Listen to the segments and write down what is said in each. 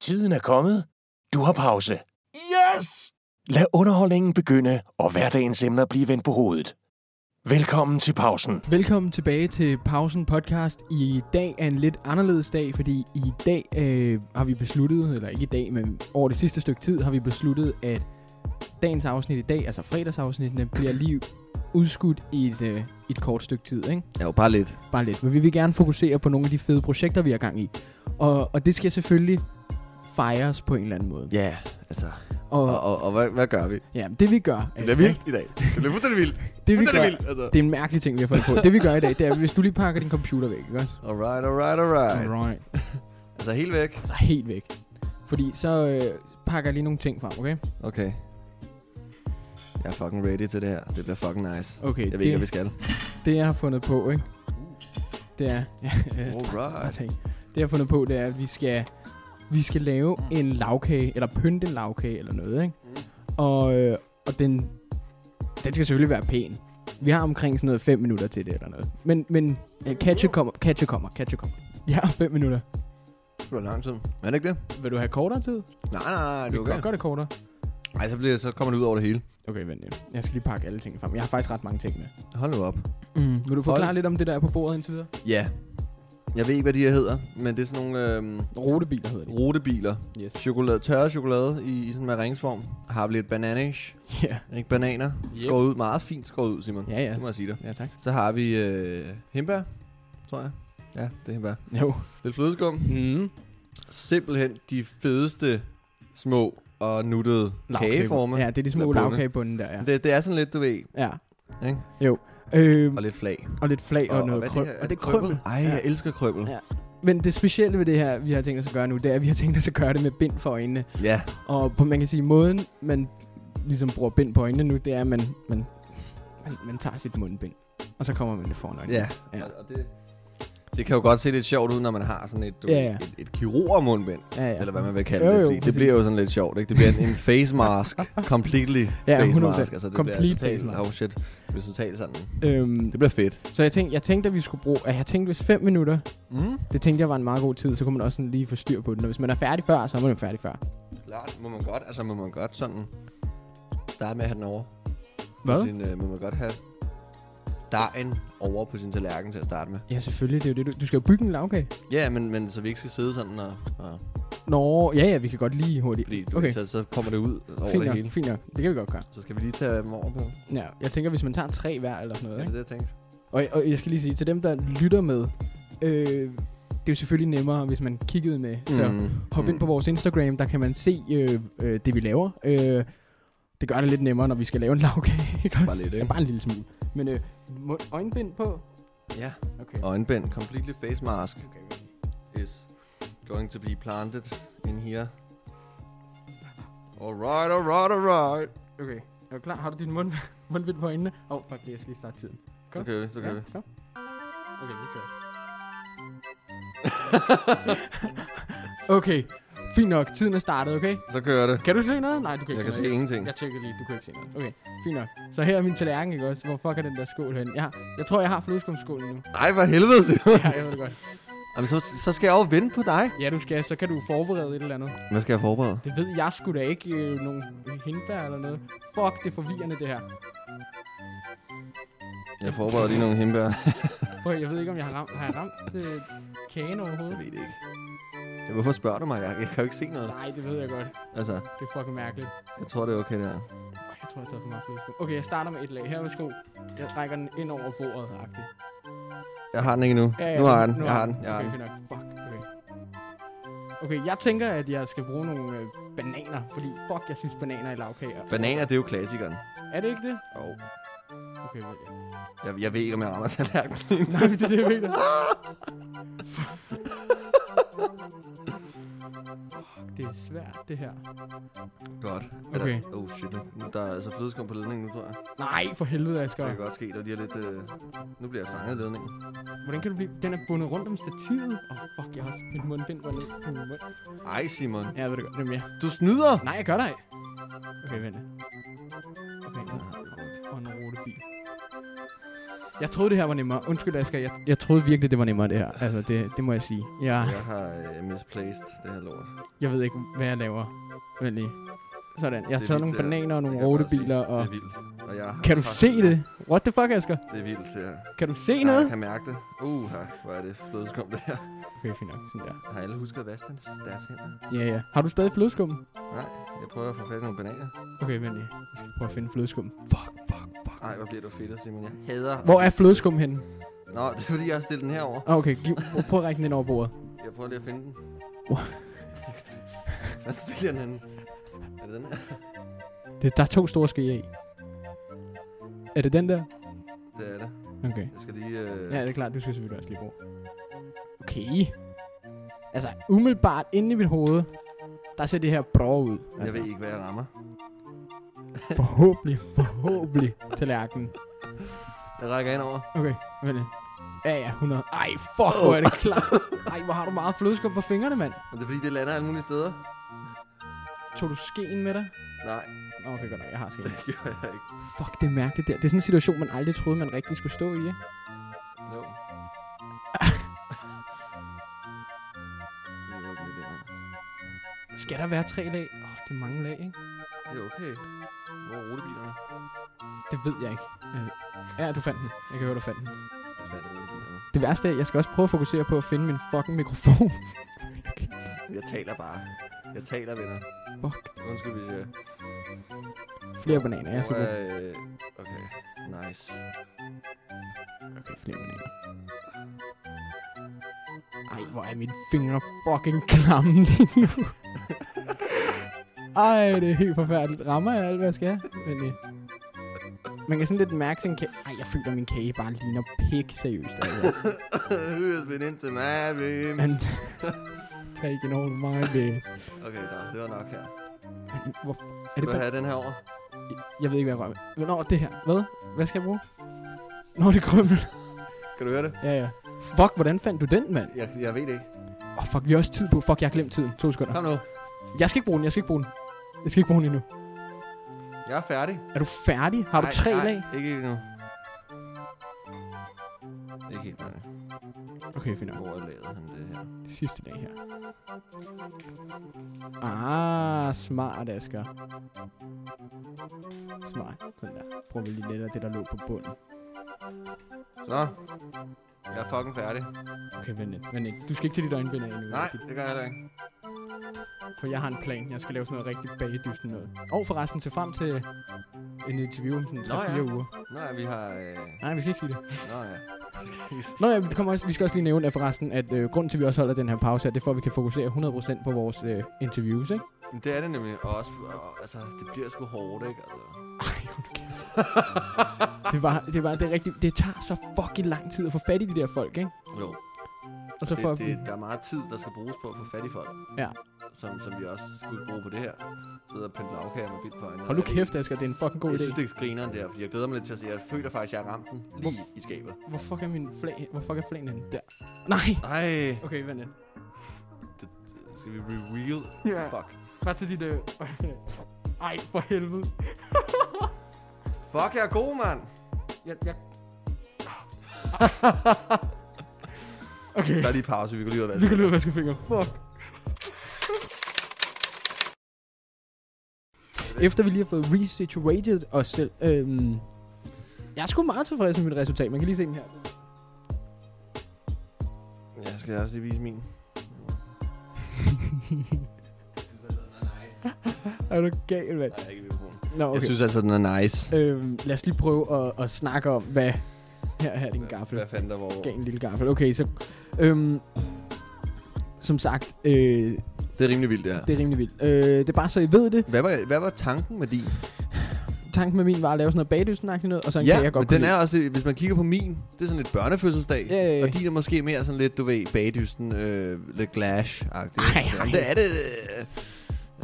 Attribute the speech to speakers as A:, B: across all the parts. A: Tiden er kommet. Du har pause.
B: Yes!
A: Lad underholdningen begynde, og hverdagens emner blive vendt på hovedet. Velkommen til pausen.
C: Velkommen tilbage til Pausen Podcast. I dag er en lidt anderledes dag, fordi i dag øh, har vi besluttet, eller ikke i dag, men over det sidste stykke tid har vi besluttet, at dagens afsnit i dag, altså fredagsafsnittene, bliver lige udskudt i et, øh, et kort stykke tid. Ikke?
D: Ja, jo, bare lidt.
C: Bare lidt. Men vi vil gerne fokusere på nogle af de fede projekter, vi har gang i. Og, og det skal selvfølgelig fejres på en eller anden måde.
D: Ja, altså. Og,
C: Og
D: og, og hvad, hvad gør vi?
C: ja, det vi gør... altså,
D: Det bliver vildt i dag. Det bliver fuldstændig vildt.
C: Det vi
D: fuldstændig
C: gør,
D: vildt, altså.
C: det er en mærkelig ting, vi har fundet på. Det vi gør i dag, det er, hvis du lige pakker din computer væk, ikke også?
D: Alright, alright, alright.
C: Alright.
D: Altså helt væk.
C: Altså helt væk. Fordi så øh, pakker jeg lige nogle ting frem, okay?
D: Okay. Jeg er fucking ready til det her. Det bliver fucking nice.
C: Okay,
D: Jeg
C: det,
D: ved ikke, hvad vi skal.
C: det jeg har fundet på, ikke? Det er... Ja, øh, bare
D: Alright.
C: tag. det jeg har fundet på, det er, at vi skal, vi skal lave en lavkage, eller pynte en lavkage eller noget, ikke?
D: Mm.
C: Og, øh, og den, den skal selvfølgelig være pæn. Vi har omkring sådan noget 5 minutter til det eller noget. Men, men øh, Katja kommer, Katja kommer, Katja kommer. Jeg har 5 minutter.
D: Det bliver lang tid. Er det ikke det?
C: Vil du have kortere tid?
D: Nej, nej, nej. Det er
C: Vi kan godt
D: okay.
C: gøre det kortere.
D: Ej, så, bliver, så kommer det ud over det hele.
C: Okay, vent lidt. Jeg skal lige pakke alle tingene frem. Jeg har faktisk ret mange ting med.
D: Hold nu op.
C: Mm. Vil du forklare
D: Hold.
C: lidt om det, der er på bordet indtil videre?
D: Ja. Jeg ved ikke, hvad de her hedder, men det er sådan nogle øhm,
C: Rotebiler hedder det.
D: rutebiler.
C: Yes.
D: Chokolade, tørre chokolade i, i sådan en maringsform. Har lidt bananish.
C: Ja.
D: Ikke bananer.
C: Yep.
D: Skåret ud. Meget fint skåret ud, Simon.
C: Ja, ja.
D: Det må jeg sige dig.
C: Ja, tak.
D: Så har vi øh, hembær, tror jeg. Ja, det er hembær.
C: Jo.
D: Lidt flødeskum.
C: Mm.
D: Simpelthen de fedeste små og nuttede kageformer.
C: Ja, det er de små
D: Eller bunde.
C: lavkagebunden der, ja.
D: Det, det er sådan lidt, du ved,
C: Ja.
D: Ikke?
C: Jo. Øhm,
D: og lidt flag.
C: og lidt flag og, og noget
D: hvad
C: krøb.
D: her?
C: Og det er krømmel.
D: Ej, jeg elsker krømmel.
C: Ja. Men det specielle ved det her, vi har tænkt os at gøre nu, det er, at vi har tænkt os at gøre det med bind for øjnene.
D: Ja,
C: Og på, man kan sige, måden, man ligesom bruger bind på øjnene nu, det er, at man, man, man, man tager sit mundbind. Og så kommer man det foran øjnene.
D: ja.
C: Ja.
D: Og- Og det, det kan jo godt se lidt sjovt ud, når man har sådan et, du,
C: Ja,
D: ved,
C: ja.
D: et, et kirurgermundbind,
C: ja, ja.
D: eller hvad man vil kalde
C: Jo,
D: det.
C: jo,
D: fordi det
C: præcis.
D: bliver jo sådan lidt sjovt, ikke? Det bliver en, en face mask, completely
C: Ja,
D: face
C: 100%.
D: mask. Altså, det
C: Complete
D: bliver totalt,
C: face mask.
D: oh shit, det bliver totalt sådan,
C: Øhm,
D: det bliver fedt.
C: så jeg tænkte, jeg tænkte, at vi skulle bruge... at Jeg tænkte, hvis 5 minutter,
D: Mm.
C: det tænkte jeg var en meget god tid, så kunne man også sådan lige få styr på den. Og hvis man er færdig før, så er man jo færdig før.
D: Klart, må man godt, altså må man godt sådan starte med at have den over.
C: Hvad?
D: På Sin, øh, må man godt have dejen over på sin tallerken til at starte med.
C: Ja, selvfølgelig. Det er jo det, du, du skal jo bygge en lavkage.
D: Ja, men, men så vi ikke skal sidde sådan og... og
C: Nå, ja, ja, vi kan godt lige hurtigt.
D: fordi, du okay.
C: Okay.
D: så, så kommer det ud over
C: Fint
D: det
C: nok,
D: hele.
C: fint nok. Det kan vi godt gøre.
D: Så skal vi lige tage dem over på. Ja,
C: Ja, jeg tænker, hvis man tager tre hver eller sådan noget.
D: det er det,
C: Ikke?
D: jeg tænkte.
C: Og, og jeg skal lige sige, til dem, der lytter med, øh, det er jo selvfølgelig nemmere, hvis man kiggede med. Så
D: Mm,
C: hop ind på vores Instagram, der kan man se øh, øh, det, vi laver. Øh, det gør det lidt nemmere, når vi skal lave en lavkage. Ikke også?
D: Bare lidt, ikke?
C: Ja, bare en lille smule. Men øh, må- øjenbind på?
D: Mm. Ja,
C: Okay.
D: øjenbind. Completely face mask
C: okay.
D: is going to be planted in here. Alright, alright, alright.
C: Okay, er du klar? Har du din mund, mundbind på øjnene? Åh, oh, fuck det, jeg skal lige starte tiden.
D: Så kører vi, så kører vi.
C: så. Okay, vi kører. okay, fint nok. Tiden er startet, okay?
D: Så kører det.
C: Kan du se noget? Nej, du kan
D: Jeg
C: ikke
D: kan
C: noget.
D: se ingenting.
C: Jeg tjekkede lige, du kunne ikke se noget. Okay, fint nok. Så her er min tallerken, ikke også? Hvor fuck er den der skål hen? Jeg, har, jeg tror, jeg har flødeskumskålen nu.
D: Nej, for helvede, Simon.
C: Ja, jeg ved det godt.
D: Jamen, så, så skal jeg jo vente på dig.
C: Ja, du skal, så kan du forberede et eller andet.
D: Hvad skal jeg forberede?
C: Det ved jeg sgu da ikke. Øh, nogen hindbær eller noget. Fuck, det er forvirrende, det her.
D: Jeg forbereder lige nogle hembær.
C: Prøv, jeg ved ikke, om jeg har ramt, har jeg ramt øh, kagen overhovedet.
D: Jeg ved det ikke. Ja, hvorfor spørger du mig? Jeg, jeg kan jo ikke se noget.
C: Nej, det ved jeg godt.
D: Altså,
C: Det er fucking mærkeligt.
D: jeg tror, det er okay, det her.
C: Ej, Jeg tror, jeg tager for meget flødeskum. Okay, jeg starter med et lag. Her, værsgo. Jeg rækker den ind over bordet, agtigt.
D: Jeg har den ikke nu. nu har jeg den. Jeg har den. Jeg har
C: okay,
D: den.
C: fint nok. Fuck, okay. Okay, jeg tænker, at jeg skal bruge nogle øh, bananer, fordi fuck, jeg synes bananer i lavkager.
D: Bananer, det er jo klassikeren.
C: Er det ikke det?
D: Og
C: Okay, vel, ja.
D: jeg, jeg ved ikke, om jeg rammer tallerkenen.
C: Nej, men det er det, jeg mener. Fuck, det er svært, det her.
D: Godt. Er
C: Okay.
D: Der, oh shit. nu- nu- Der er altså flødeskum på ledningen nu, tror jeg.
C: Nej, for helvede,
D: Det
C: Asger.
D: kan godt ske, der lige er lidt... Øh... Nu bliver jeg fanget i ledningen.
C: Hvordan kan du blive... Den er bundet rundt om stativet. Åh, oh, fuck, jeg har også min mundbind var ned på min mund.
D: Ej, Simon.
C: Ja, jeg ved det godt. Jamen, ja.
D: Du snyder!
C: Nej, jeg gør dig. Okay, vent. lidt. Okay, nu. Og en rotebil. Jeg troede, det her var nemmere. Undskyld, Asger. Jeg, jeg troede virkelig, det var nemmere, det her. Altså, det, det må jeg sige. Jeg,
D: Jeg har øh, misplaced det her lort.
C: jeg ved ikke, hvad jeg laver. Vent lige. Sådan. Jeg
D: Det
C: har
D: er
C: taget
D: vildt,
C: nogle
D: det her.
C: bananer og nogle
D: Det kan jeg bare
C: rotebiler.
D: se.
C: Og...
D: Det er vildt. Og jeg har
C: Kan du
D: haft-
C: se det? What the fuck, Asger?
D: Det er vildt, det her.
C: Kan du se
D: Nej, jeg
C: noget?
D: kan mærke det. Uh, hvor er det flødeskum, det her.
C: Okay, fint nok. Sådan der.
D: Har alle husket at vaske den- deres hænder?
C: Ja, ja. Har du stadig flødeskum?
D: Nej, jeg prøver at få fat i nogle bananer.
C: Okay, vent lige. Jeg skal prøve at finde flødeskum. Fuck, fuck, fuck.
D: Nej, hvor bliver du fedt, Simon. Jeg hader...
C: Hvor er flødeskum henne?
D: Nå, det er fordi, jeg har stillet den herover.
C: Ah, okay. Giv, prøv, prøv at række den ind over bordet.
D: Jeg prøver lige at finde den.
C: Wow.
D: Hvad stiller den henne? Er det den her?
C: Det, der er to store skeer i. Er det den der?
D: Det er det.
C: Okay.
D: Jeg skal lige... Øh...
C: Ja, det er klart. Du skal selvfølgelig også lige bruge. Okay. Altså, umiddelbart inde i mit hoved, der ser det her bra ud. Altså,
D: Jeg ved ikke, hvad jeg rammer.
C: Forhåbentlig, forhåbentlig tallerkenen.
D: Jeg rækker ind over.
C: Okay, vent lidt. Ja, ja, 100. Ej, fuck, hvor er det klart. Ej, hvor har du meget flødeskum på fingrene, mand.
D: Men det er fordi, det lander alle mulige steder.
C: Tog du skeen med dig?
D: Nej,
C: Nå, Okay, godt nok, jeg har skeen.
D: det gjorde jeg ikke.
C: Fuck, det er mærkeligt der. Det er sådan en situation, man aldrig troede, man rigtig skulle stå i, ikke?
D: Jo. Jeg ved ikke, hvad det er.
C: Skal der være tre lag? Åh, oh, det er mange lag, ikke?
D: Det er okay. Hvor er rutebilerne?
C: Det ved jeg ikke. Øh, Ja, du fandt den. Jeg kan høre, du fandt den.
D: Jeg fandt rutebilerne.
C: Det værste er, at jeg skal også prøve at fokusere på at finde min fucking mikrofon.
D: Jeg taler bare. Jeg taler, venner.
C: Fuck.
D: Undskyld, hvis jeg...
C: Flere bananer, jeg skal
D: Hvor
C: bruge.
D: er, øh, Okay, nice.
C: Okay, flere bananer. Ej, hvor er mine fingre fucking klamme lige nu. Ej, det er helt forfærdeligt. Rammer jeg alt, hvad jeg skal? Men, øh, man kan sådan lidt mærke sin kage. Ej, jeg føler, at min kage bare ligner pik seriøst. Altså.
D: Hørespil ind til Mavim.
C: And taken all my days.
D: Okay, nå, det var nok her.
C: Hvor, er
D: Vil
C: det
D: du
C: bare,
D: have den her over?
C: jeg ved ikke, hvad jeg rører ved. Nå, det her. Hvad? Hvad skal jeg bruge? Nå, det er krømmel.
D: Kan du høre det?
C: Ja, ja. Fuck, hvordan fandt du den, mand?
D: Jeg, jeg ved det ikke.
C: Åh, oh, fuck, vi har også tid på. Fuck, jeg har glemt tiden. To sekunder.
D: Kom nu.
C: Jeg skal ikke bruge den, jeg skal ikke bruge den. Jeg skal ikke bruge den endnu.
D: Jeg er færdig.
C: Er du færdig? Har du
D: Ej,
C: tre
D: ej,
C: lag?
D: Ikke endnu. Ikke helt nej.
C: Okay, fint nok.
D: Hvor lavede han det her?
C: Det sidste lag her. Ah, smart, Asger. Smart. Sådan der. Prøver vi lige lidt af det, der lå på bunden.
D: Så. Jeg er fucking færdig.
C: Okay, vent lidt. Vent lidt. Du skal ikke til dit øjenbinder endnu.
D: Nej,
C: rigtigt?
D: det gør jeg heller ikke.
C: For jeg har en plan. Jeg skal lave sådan noget rigtig bagedysten noget. Og forresten, se frem til en interview om sådan
D: Nå
C: 3-4
D: ja.
C: uger.
D: Nej, vi har... Øh...
C: Nej, vi skal ikke sige det.
D: Nå ja.
C: Nå ja, vi, kommer også, vi skal også lige nævne at forresten, at øh, grunden til, at vi også holder den her pause her, det er for, at vi kan fokusere 100% på vores øh, interviews, ikke?
D: Men det er det nemlig. Og også, og, altså, det bliver sgu hårdt, ikke? Altså.
C: Ej, hold kæft. det var, det var det er rigtigt. Det tager så fucking lang tid at få fat i de der folk, ikke?
D: Jo.
C: Og så
D: Det,
C: får
D: det,
C: vi...
D: der er meget tid, der skal bruges på at få fat i folk.
C: Ja.
D: Som, som vi også skulle bruge på det her. Sidde og pynte lavkager med bitcoin.
C: Hold nu kæft, Asger, det er en fucking god
D: Jeg
C: idé.
D: synes, det er grineren der, fordi jeg glæder mig lidt til at se. Jeg føler faktisk, at jeg har ramt den lige i skabet.
C: Hvor fuck er min flag? Hvor fuck er flagen henne? Der. Nej!
D: Ej,
C: Okay, vent lidt.
D: skal vi reveal?
C: Ja.
D: Fuck.
C: Bare til dit... Øh... Ej, for helvede.
D: Fuck, jeg er god, mand.
C: Jeg, jeg... Okay,
D: Der er lige pause, vi kan lige ud og
C: vi
D: vaske.
C: kan løbe vaske fingre. Fuck. Efter vi lige har fået resituated os selv, øhm, jeg er sgu meget tilfreds med mit resultat. Man kan lige se den her.
D: Jeg skal også lige vise min. altså,
C: Er du gal, mand?
D: Nej, ikke i mikrofonen.
C: Nå,
D: Jeg
C: okay.
D: synes altså, den er nice.
C: Øhm, lad os lige prøve at, at snakke om, hvad... Her, her er din gaffel.
D: Hvad fanden der var
C: Gav en lille gaffel. Okay, så... Øhm, som sagt, øh,
D: Det er rimelig vildt, det her.
C: det er rimelig vildt. Øh, det er bare så, I ved det.
D: Hvad var, hvad var tanken med din?
C: Tanken med min var at lave sådan noget bagdysten noget, og så en
D: ja,
C: kage, jeg godt
D: men den
C: kunne
D: er også, hvis man kigger på min, det er sådan lidt børnefødselsdag.
C: Ja, ja, ja.
D: Og din er måske mere sådan lidt, du ved, bagdysten, øh, lidt glash-agtig.
C: Ej,
D: Altså,
C: ej.
D: Det er det.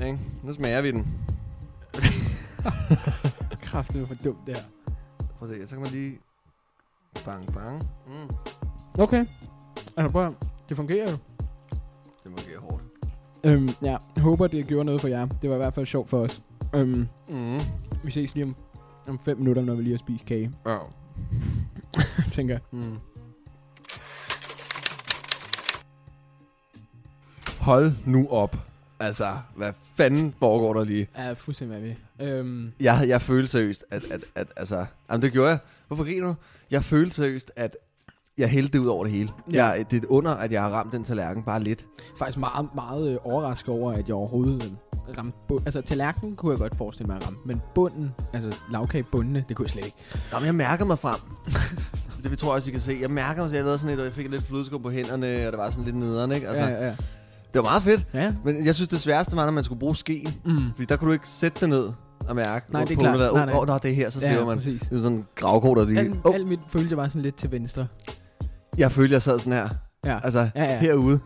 D: Øh, ikke? Nu smager vi den.
C: lide. Kraftigt, hvor dumt det her.
D: Prøv at se, så kan man lige... Bang, bang. Mm.
C: Okay. Altså, prøv at- det fungerer jo.
D: Det må gøre hårdt.
C: Øhm, ja, jeg håber, det gjorde noget for jer. Det var i hvert fald sjovt for os. Øhm,
D: Mm.
C: vi ses lige om, om fem minutter, når vi lige har spist kage.
D: Ja.
C: tænker jeg.
D: Mm. Hold nu op. Altså, hvad fanden foregår der lige?
C: Ja, fuldstændig vanvittigt. Øhm,
D: Jeg, jeg følte seriøst, at, at, at altså... Jamen, det gjorde jeg. Hvorfor griner du? Jeg følte seriøst, at jeg hældte det ud over det hele.
C: Ja.
D: Ja. Jeg, det er et under, at jeg har ramt den tallerken bare lidt.
C: faktisk meget, meget øh, overrasket over, at jeg overhovedet øh, ramte bund. Altså, tallerkenen kunne jeg godt forestille mig at ramme, men bunden, altså lavkagebundene, det kunne jeg slet ikke.
D: Nå, men jeg mærker mig frem. det vi tror også, I kan se. Jeg mærker mig, så jeg lavede sådan lidt, og jeg fik lidt flødeskum på hænderne, og det var sådan lidt nederen, ikke? Altså, ja, ja.
C: ja, ja.
D: Det var meget fedt.
C: ja.
D: Men jeg synes, det sværeste var, når man skulle bruge skeen.
C: Mm.
D: Fordi der kunne du ikke sætte det ned og mærke.
C: Nej, det er
D: hvor
C: klart.
D: pungen
C: Nej, nej.
D: Åh, oh, der er det her, så stiger
C: ja,
D: man.
C: præcis.
D: Det er sådan en gravkort, der lige...
C: Al,
D: Åh,
C: alt mit følte var sådan lidt til venstre.
D: jeg følte, jeg sad sådan her.
C: Ja.
D: Altså,
C: Ja, ja.
D: herude.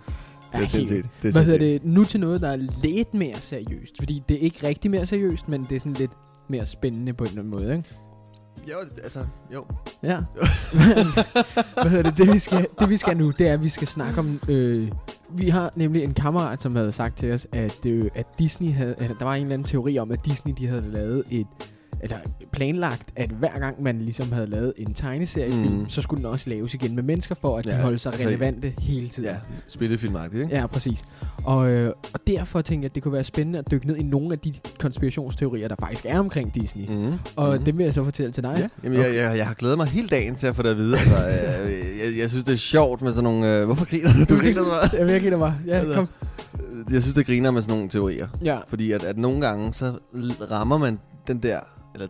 C: Ja,
D: Det er sindssygt.
C: helt.
D: Det er
C: Hvad hedder
D: sindssygt.
C: det? Nu til noget, der er lidt mere seriøst. Fordi det er ikke rigtig mere seriøst, men det er sådan lidt mere spændende på en eller anden måde, ikke?
D: Jo, altså, jo.
C: Ja. Hvad hedder det? Det vi, skal, det vi skal nu, det er, at vi skal snakke om... Øh, vi har nemlig en kammerat, som havde sagt til os, at, øh, at Disney havde... At der var en eller anden teori om, at Disney de havde lavet et... Altså planlagt, at hver gang man ligesom havde lavet en tegneseriefilm, mm.
D: Mm.
C: så skulle den også laves igen med mennesker, for at ja, de
D: Ja,
C: holdt sig altså,
D: altså-
C: relevante hele tiden.
D: Ja, spillefilmagtigt, ikke?
C: Ja, præcis. Og, øh, og derfor tænkte jeg, at det kunne være spændende at dykke ned i nogle af de konspirationsteorier, der faktisk er omkring Disney. Mm.
D: Mm.
C: Og
D: Mhm.
C: mm. det vil jeg så fortælle til dig.
D: Ja, jamen, jeg, jeg, jeg har glædet mig hele dagen til at få det at vide. Altså, jeg, jeg, jeg synes, det er sjovt med sådan nogle... Øh, hvorfor griner du? Du griner så meget.
C: Jamen, jeg griner bare. Ja,
D: Altså.
C: kom.
D: Jeg synes, det griner med sådan nogle teorier.
C: Ja,
D: Fordi at, at nogle gange, så l- rammer man den der... Eller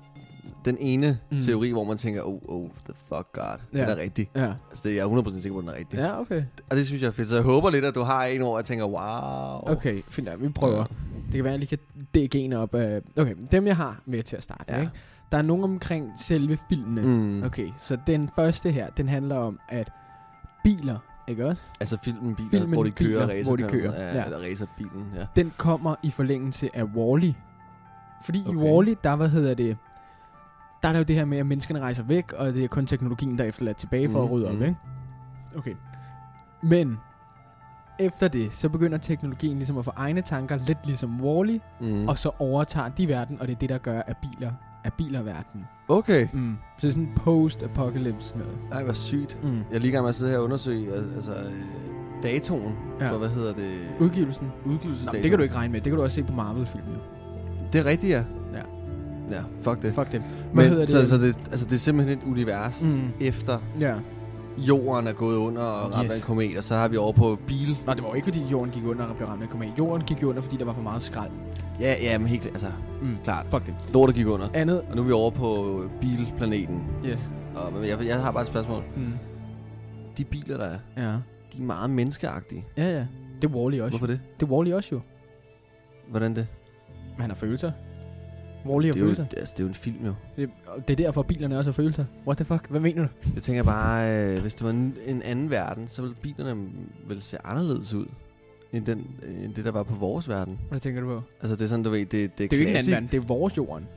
D: den ene
C: Mm.
D: mm. teori, hvor man tænker, oh, oh, the fuck god, ja.
C: Ja.
D: den er rigtig.
C: ja.
D: Altså, det, jeg er 100% sikker på, den er rigtig.
C: Ja, okay.
D: Og det synes jeg er fedt, så jeg håber lidt, at du har en, hvor jeg tænker, wow.
C: Okay, fint. nok. Vi prøver. Det kan være, at jeg lige kan dække en op. øh. Okay, dem jeg har med til at starte. Ja.
D: Ja.
C: Ikke? Der er nogen omkring selve filmene.
D: Mm. okay.
C: Okay, så den første her, den handler om, at biler, ikke også?
D: Altså filmen biler,
C: Filmen
D: hvor de kører
C: Biler,
D: racerkører.
C: hvor de kører,
D: Ja,
C: ja.
D: ja. Eller racerbilen, ja.
C: den kommer i forlængelse af Wall-E. Fordi okay. i
D: Okay.
C: Wall-E, der, hvad hedder det, der er der jo det her med, at menneskerne rejser væk, og det er kun teknologien, der er efterladt tilbage for mm,
D: Mhm,
C: at rydde op,
D: mhm.
C: ikke? Okay. Men efter det, så begynder teknologien ligesom at få egne tanker, lidt ligesom Wall-E, mm.
D: Mm.
C: og så overtager de verden, og det er det, der gør, at biler er bilerverden.
D: Okay.
C: Mm. Så det er sådan post-apocalypse noget.
D: Ej, hvor sygt.
C: Mm.
D: Jeg er lige i gang med at sidde her og undersøge al- altså, øh, datoen
C: Ja.
D: ja. for, hvad hedder det?
C: Udgivelsen. Nå,
D: Udgivelsesdatoen.
C: men det kan du ikke regne med. Det kan du også se på Marvel-filmen. jo.
D: Det er rigtigt, ja.
C: Ja.
D: Ja, fuck det.
C: Fuck dem. Hvad
D: Men,
C: hedder
D: Så,
C: det?
D: så det, altså, det er simpelthen et univers,
C: Mm.
D: mm. efter
C: Ja.
D: jorden er gået under og ramt
C: Yes.
D: af en komet, og så har vi over på bil.
C: Nå, det var jo ikke, fordi jorden gik under og blev ramt af en komet. Jorden gik jo under, fordi der var for meget skrald.
D: Ja, ja, men helt klart. Altså,
C: Mm.
D: klart.
C: Fuck det.
D: Lortet gik under.
C: Andet.
D: Og nu er vi over på øh, bilplaneten.
C: Yes.
D: Og, men jeg, jeg har bare et spørgsmål.
C: Mm.
D: De biler, der er,
C: Ja.
D: de er meget menneskeagtige.
C: Ja, ja. Det er Wall-E også.
D: Hvorfor det?
C: Det er Wall-E også jo.
D: Hvordan det?
C: Men han har følelser. Wall-E har
D: Det er, jo,
C: følelser.
D: det, altså, det er jo en film, jo.
C: Det, og det er derfor, bilerne også har følelser. What the fuck? Hvad mener du?
D: Jeg tænker bare, øh, hvis det var en, en anden verden, så ville bilerne vel se anderledes ud, end, den, øh, end det, der var på vores verden.
C: Hvad tænker du på?
D: Altså, det er sådan, du ved, det, det er,
C: Det er jo ikke en anden
D: klassik,
C: verden. Det er vores jorden.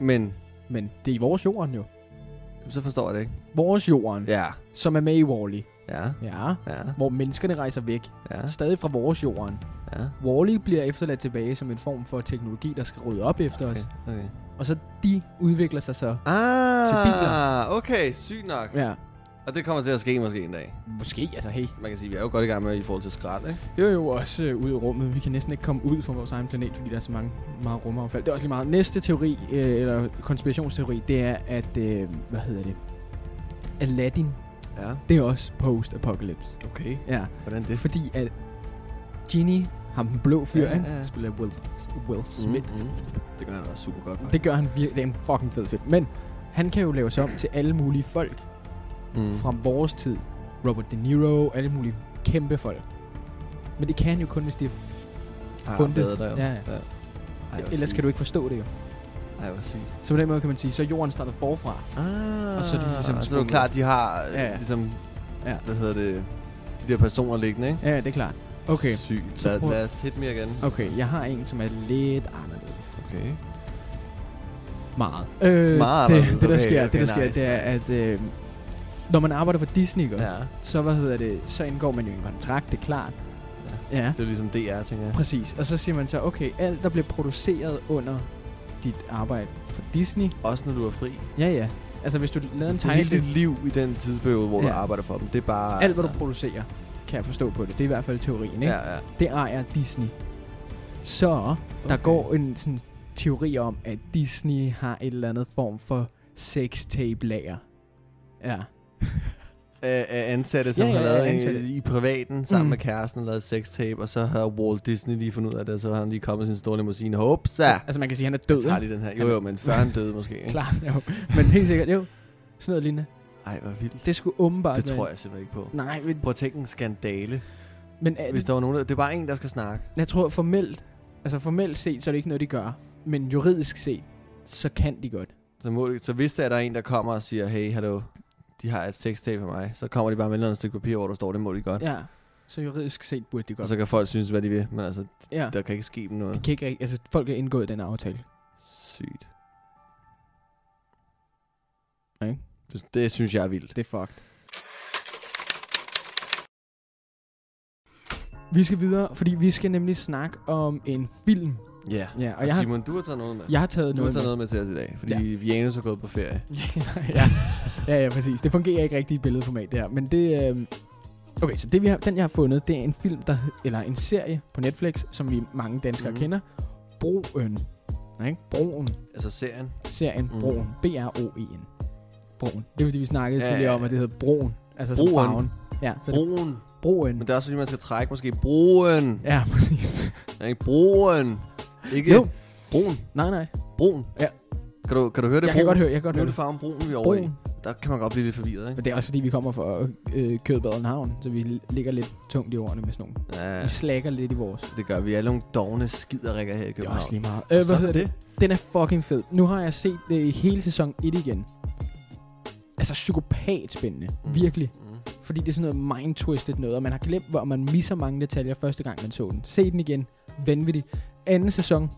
D: Men
C: Men det er i vores jorden jo.
D: så forstår jeg det ikke.
C: Vores jorden, ja.
D: Ja,
C: som er med i Wall-E.
D: ja,
C: Ja.
D: ja,
C: Hvor menneskerne rejser væk.
D: ja,
C: Stadig fra vores jorden.
D: ja.
C: Wall-E bliver efterladt tilbage som en form for teknologi, der skal rydde op efter okay.
D: Okay,
C: os.
D: okay.
C: Og så de udvikler sig så. Til biler.
D: Ah, okay, sygt nok.
C: Ja.
D: Og det kommer til at ske måske en dag.
C: Måske, altså hey.
D: Man kan sige, vi er jo godt i gang med i forhold til skrald, ikke?
C: Jo jo, også øh, ud i rummet. Vi kan næsten ikke komme ud fra vores egen planet, fordi der er så mange meget rumaffald. Det er også lige meget. Næste teori, øh, eller konspirationsteori, det er, at, øh, hvad hedder det? Aladdin,
D: Ja,
C: det er også post-apocalypse.
D: okay.
C: Ja,
D: Hvordan
C: det er
D: det?
C: fordi, at Genie, ham den blå fyr,
D: Ja,
C: ja, ja,
D: ja,
C: ja. Mm-hmm.
D: ja.
C: spiller Will, Will Smith.
D: Mm, mm. Det gør han også super godt,
C: Mm.
D: faktisk.
C: Det gør han virkelig, det er en fucking fed film. Men han kan jo lave sig om til alle mulige folk
D: mm.
C: fra vores tid. Robert De Niro, alle mulige kæmpe folk. Men det kan han jo kun, hvis de er
D: Har
C: fundet.
D: opdaget dig, jo.
C: Ja, ja.
D: Ej, hvor
C: Ellers
D: sygt.
C: kan du ikke forstå det jo.
D: Ej, hvor sygt.
C: Så på den måde kan man sige, så er jorden starter forfra.
D: Ah,
C: Og så er de ligesom
D: så er det
C: sprunget.
D: jo klart, de har øh,
C: Ja, ja.
D: ligesom,
C: Ja.
D: ja. hvad hedder det, de der personer liggende, ikke?
C: Ja, ja, det er klart. Okay,
D: Sygt.
C: Så
D: Lad,
C: prøv-
D: lad os hit mere igen.
C: okay, jeg har en, som er lidt anderledes.
D: Okay.
C: Meget. Øh,
D: Meget
C: det,
D: anderledes,
C: det, der
D: okay,
C: sker,
D: okay,
C: det, der sker,
D: nice,
C: det er, at øh, når man arbejder for Disney, ikke også,
D: Ja,
C: så, hvad hedder det, så indgår man jo en kontrakt, det er klart. Ja. ja.
D: det er jo ligesom DR, tænker jeg.
C: Præcis, og så siger man så, okay, alt der bliver produceret under dit arbejde for Disney,
D: Også når du er fri.
C: ja ja, Altså hvis du lavede en
D: Altså, hele
C: tegnestil,
D: dit liv i den tidsperiode, hvor ja. du
C: Ja.
D: arbejder for dem, det er bare... altså-
C: alt hvad du producerer, kan jeg forstå på det. Det er i hvert fald teorien, ikke?
D: Ja, ja.
C: det ejer Disney. Så okay. der
D: Okay.
C: går en sådan, teori om, at Disney har et eller andet form for sextape-lager. Ja.
D: Af- af ansatte, som
C: Ja,
D: ja,
C: ja,
D: har
C: ja,
D: lavet
C: ansatte.
D: ansatte. i privaten sammen
C: Mm.
D: mm. med kæresten og lavet sextape, og så har Walt Disney lige fundet ud af det, og så har han lige kommet i sin store limousine. Hopsa!
C: Altså man kan sige, at han er
D: Jeg
C: død,
D: tager
C: ikke?
D: lige den her. Jo, jo, men før han døde måske. Ikke?
C: Klart, jo. Men helt sikkert, jo. Sådan noget lignende.
D: Ej, hvor vildt. Det,
C: Det skulle åbenbart
D: det
C: være-
D: tror jeg simpelthen ikke på.
C: Nej, men,
D: Prøv at tænke en skandale.
C: men er
D: Hvis
C: det,
D: der var nogen, der... Det er bare en, der skal snakke.
C: jeg tror formelt, altså formelt set, så er det ikke noget, de gør. Men juridisk set, så kan de godt.
D: Så, må, så hvis der er en, der kommer og siger, hey, hallo, de har et sextape for mig, så kommer de bare med et eller andet stykke papir, hvor der står, det må de godt. Ja, Altså,
C: Ja. Så juridisk set burde de
D: og
C: godt.
D: så kan folk synes, hvad de vil, men altså,
C: ja.
D: der kan ikke ske dem noget.
C: Det kan ikke, rigtig- altså, folk har indgået den aftale.
D: Sygt.
C: Ikke?
D: Det- Det synes jeg er vildt.
C: Det er fucked. Vi skal videre, fordi vi skal nemlig snakke om en film.
D: Ja.
C: Ja, og
D: Og
C: jeg har,
D: Simon, du har taget noget med.
C: jeg har taget
D: Du har
C: noget
D: taget noget med til os i dag, fordi ja. Janus er gået på ferie.
C: med. ja. ja, ja, præcis. Det fungerer ikke rigtigt i billedformat der, men det... Øh... Okay, så det, vi har, den jeg har fundet, det er en film, der, hed- eller en serie på Netflix, som vi mange danskere mm.
D: Mhm.
C: kender. Broen. Ikke? Broen.
D: Altså serien.
C: Serien
D: Mhm.
C: Broen. B-R-O-E-N. E Broen. Det er fordi, vi snakkede
D: Ja,
C: ja, tidligere
D: ja,
C: om,
D: ja.
C: at det hedder Broen. Altså som
D: Broen.
C: farven. Ja, så det er
D: Broen.
C: Broen.
D: Men det er også fordi, man skal trække måske broen.
C: Ja, præcis.
D: Ja. Ikke broen. Ikke
C: Jo.
D: broen.
C: Nej, nej.
D: Broen.
C: Ja.
D: Kan du, kan du høre det?
C: Jeg kan
D: broen?
C: godt høre, jeg kan godt
D: Nu er
C: høre
D: det
C: det.
D: farven broen, vi er over i.
C: Broen.
D: Der kan man godt blive lidt forvirret, ikke?
C: Men det er også fordi, vi kommer fra øh, Kødbaden Havn, så vi ligger lidt tungt i ordene med sådan nogle.
D: Ja,
C: Ja. Vi slækker lidt i vores.
D: det gør vi. Alle nogle dogne skiderikker her i
C: Det er
D: København.
C: også lige meget.
D: Og
C: Øh, hvad
D: sådan
C: hedder det?
D: er
C: Den er fucking fed. Nu har jeg set det i hele sæson 1 igen. Altså psykopat spændende. Mm.
D: Mm.
C: Virkelig.
D: Mm.
C: Fordi det er sådan noget mind-twisted noget, og man har glemt, hvor man misser mange detaljer første gang, man så den. Se den igen. Vanvittig. Anden sæson,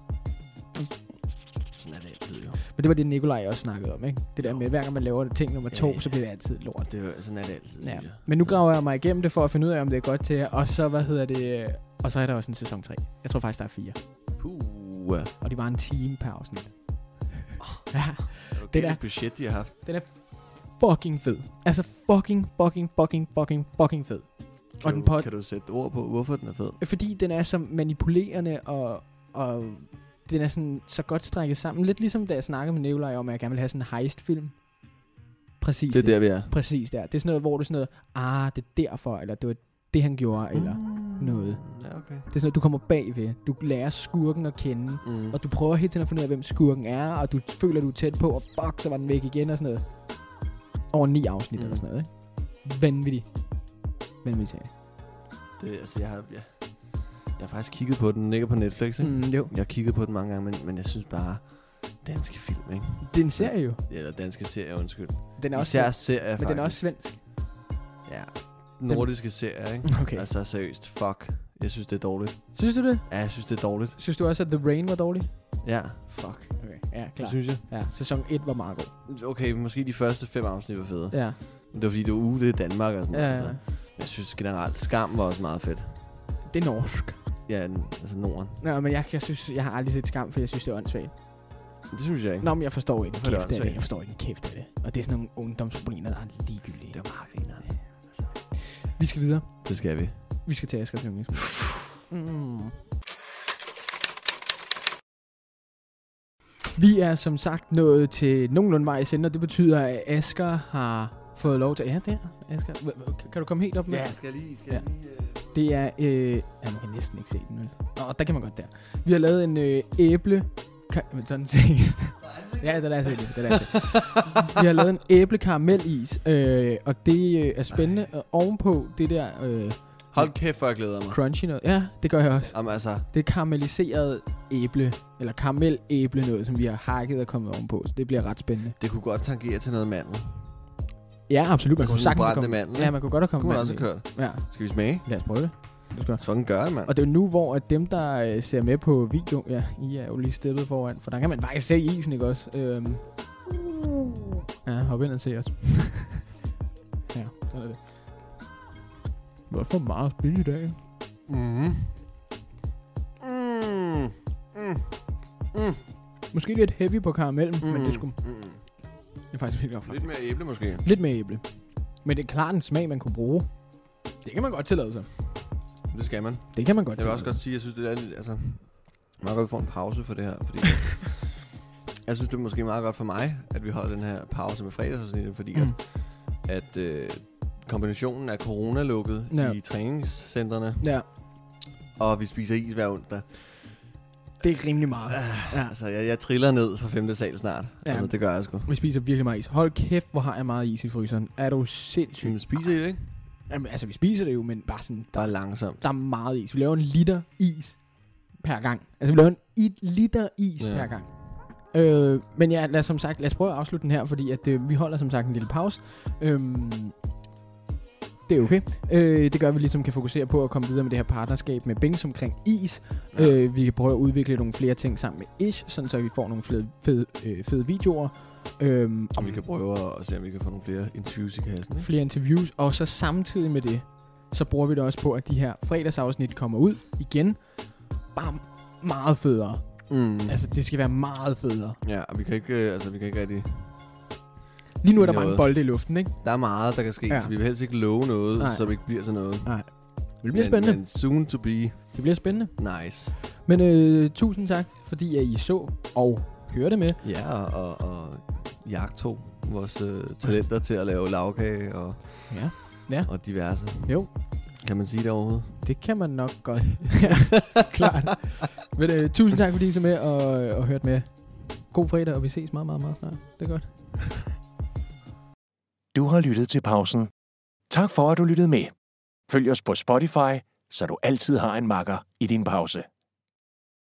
D: Sådan er det altid jo.
C: men det var det, Nikolaj også snakkede om, ikke? Det der med, at hver gang man laver ting nummer
D: Ja,
C: to,
D: ja.
C: så bliver det altid lort.
D: Det er, jo- sådan er det altid.
C: Ja.
D: synes jeg.
C: Men nu
D: Så-
C: graver jeg mig igennem det for at finde ud af, om det er godt til jer. Og så, hvad hedder det? øh, Og så er der også en sæson 3. Jeg tror faktisk, der er fire.
D: Puh. Er
C: Og det var en time per afsnit. Ja,
D: du galt
C: er-
D: et budget, de har haft?
C: den er fucking fed. Altså fucking, fucking, fucking, fucking, fucking fed.
D: Kan,
C: Og den
D: du,
C: pot-
D: kan du sætte ord på, hvorfor den er fed?
C: Fordi den er så manipulerende og, og den er sådan så godt strækket sammen. Lidt ligesom da jeg snakkede med Nikolaj om, at jeg gerne ville have sådan en heist-film. Præcis
D: Det er der, vi er.
C: Præcis der. Det er sådan noget, hvor du sådan noget, ah, det er derfor, eller det var det, han gjorde, eller
D: Mm.
C: noget.
D: Ja, okay.
C: det er sådan noget, du kommer bagved. Du lærer skurken at kende.
D: Mm.
C: Og du prøver hele tiden at finde ud af, hvem skurken er, og du føler, du er tæt på, og fuck, så var den væk igen og sådan noget. Over ni afsnit mm.
D: Mm.
C: eller sådan noget, ikke? Vanvittig. Vanvittig serie.
D: Det, altså, jeg har, jeg, jeg har faktisk kigget på den. Den ligger på Netflix, ikke? Mm.
C: Mm, jo.
D: Jeg har kigget på den mange gange, men, men jeg synes bare, danske film, ikke?
C: Det er en serie jo.
D: Eller danske serier, undskyld.
C: Den er også,
D: Især serier,
C: men
D: faktisk.
C: den er også svensk.
D: Ja, nordiske serier, ikke?
C: Okay. Altså.
D: Altså, seriøst, fuck. Jeg synes, det er dårligt.
C: Synes du det?
D: Ja, jeg synes, det er dårligt.
C: Synes du også, at The Rain var dårlig?
D: Ja,
C: Fuck. Okay, ja,
D: det
C: klar.
D: synes jeg.
C: Ja, sæson 1 var meget god.
D: Okay, måske de første fem afsnit var fede. Ja.
C: Ja, Øh,
D: Det var fordi, det var uge, det er Danmark og sådan
C: ja,
D: noget.
C: ja.
D: Altså. Jeg synes generelt, Skam var også meget fedt.
C: Det er norsk.
D: Ja, den- altså Norden.
C: Nå, men jeg, jeg, synes, jeg har aldrig set skam, for jeg synes, det er åndssvagt.
D: Det synes jeg ikke.
C: Nå, men jeg forstår ikke en
D: Hvorfor er det
C: kæft af det. altså?
D: åndssvagt?
C: Jeg forstår ikke en kæft af det. Og det er sådan nogle ungdomsproblemer, der er ligegyldige. altså.
D: Det var meget grinerende.
C: Vi skal videre.
D: Det skal vi.
C: Vi skal til Askers Yndlings. Mm. Vi er som sagt nået til nogenlunde vejs ende, og det betyder, at Asker har fået lov til... Ja, der. Asker. Hva- hva- Kan du komme helt op med?
D: Ja, skal lige... Skal
C: Ja. altså.
D: ja. lige øh...
C: Det er... Øh, ja, man kan næsten ikke se den, vel? Nå, der kan man godt der. Vi har lavet en øh, æble... ka- Men sådan set. ja, den er set. Den er set. Vi har lavet en æblekaramelis, øh, og det øh, er spændende. Og ovenpå det der øh,
D: Hold kæft, hvor jeg glæder mig.
C: crunchy noget. Ja, det gør jeg også.
D: Jamen altså,
C: Det er karamelliseret æble, eller karamelæble noget, som vi har hakket og kommet ovenpå, så det bliver ret spændende.
D: det kunne godt tangere til noget mandel.
C: Ja, absolut. Man
D: Altså sådan
C: kunne sagtens
D: brændte
C: komme...
D: mandel,
C: Ja,
D: ikke?
C: man kunne godt have
D: Det
C: kommet
D: kunne man også
C: mandel
D: have kørt.
C: i. Ja,
D: Skal vi smage?
C: lad os prøve det. Lad os gøre.
D: Så fucking gør det, mand.
C: Og det er jo nu, hvor at dem, der øh, ser med på video, ja, I er jo lige steppet foran, for der kan man faktisk se isen, ikke også? Øhm. Ja, hop ind og se os. ja, sådan er det. Hvorfor meget spil i dag?
D: Mm. Mm. Mm.
C: Måske lidt heavy på karamellen, mm. men det skulle...
D: Mm.
C: Jeg er faktisk virkelig opflammende.
D: Lidt mere æble måske.
C: Lidt mere æble. Men det er klart en smag, man kunne bruge. Det kan man godt tillade sig.
D: Det skal man.
C: Det kan man godt
D: Jeg vil
C: tillade
D: også godt sige, at jeg synes, det er lidt, altså, meget godt, at vi får en pause for det her, fordi jeg synes, det er måske meget godt for mig, at vi holder den her pause med fredagsafsnittet, fordi mm.
C: Mm.
D: at, at øh, kombinationen af coronalukket
C: Ja.
D: ja. i træningscentrene,
C: Ja,
D: og vi spiser is hver onsdag.
C: det er rimelig meget. Ja.
D: Altså, jeg, jeg triller ned fra 5. sal snart.
C: Ja.
D: Ja. Altså, det gør jeg sgu.
C: Vi spiser virkelig meget is. Hold kæft, hvor har jeg meget is i fryseren. Er du sindssyg?
D: Men spiser I det, ikke?
C: Jamen, altså, vi spiser det jo, men bare sådan, der,
D: Bare langsomt.
C: der er meget is. Vi laver en liter is per gang. Altså, vi laver en et liter is ja.
D: Ja.
C: per gang. Øh, men ja, lad os, som sagt, lad os prøve at afslutte den her, fordi at, øh, vi holder som sagt en lille pause. Øhm, det er okay. Øh, det gør, at vi ligesom kan fokusere på at komme videre med det her partnerskab med Bings omkring is. Ja.
D: Ja.
C: Øh, vi kan prøve at udvikle nogle flere ting sammen med Ish, sådan så vi får nogle flere fede, øh, fede videoer. Øhm,
D: Om vi kan prøve at se, om vi kan få nogle flere interviews i kassen. Ikke?
C: flere interviews, og så samtidig med det, så bruger vi det også på, at de her fredagsafsnit kommer ud igen. Bare meget federe.
D: Mm.
C: Altså, det skal være meget federe.
D: Ja, og vi kan ikke, øh, altså, vi kan ikke rigtig...
C: Lige nu er der
D: Noget.
C: mange bolde i luften, ikke?
D: Der er meget, der kan ske,
C: Ja.
D: ja. så vi vil helst ikke love noget,
C: Nej.
D: Nej. som ikke bliver til noget.
C: Det bliver
D: men,
C: spændende.
D: Men soon to be
C: Det bliver spændende.
D: nice.
C: Men øh, tusind tak, fordi at I så og hørte med.
D: Ja, og, og, og jagto vores øh, talenter til at lave lavkage og,
C: Ja.
D: og diverse.
C: Jo.
D: Kan man sige det overhovedet?
C: Det kan man nok godt. ja, klart. Men øh, tusind tak, fordi I så med og, øh, og hørte med. God fredag, og vi ses meget, meget, meget snart. Det er godt.
A: Du har lyttet til pausen. Tak for, at du lyttede med. Følg os på Spotify, så du altid har en makker i din pause.